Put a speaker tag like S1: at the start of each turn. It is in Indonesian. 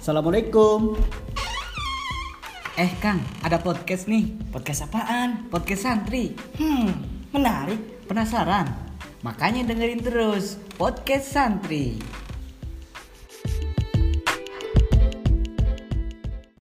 S1: Assalamualaikum.
S2: Eh Kang, ada podcast nih.
S3: Podcast apaan?
S2: Podcast santri.
S3: Hmm, menarik.
S2: Penasaran? Makanya dengerin terus podcast santri.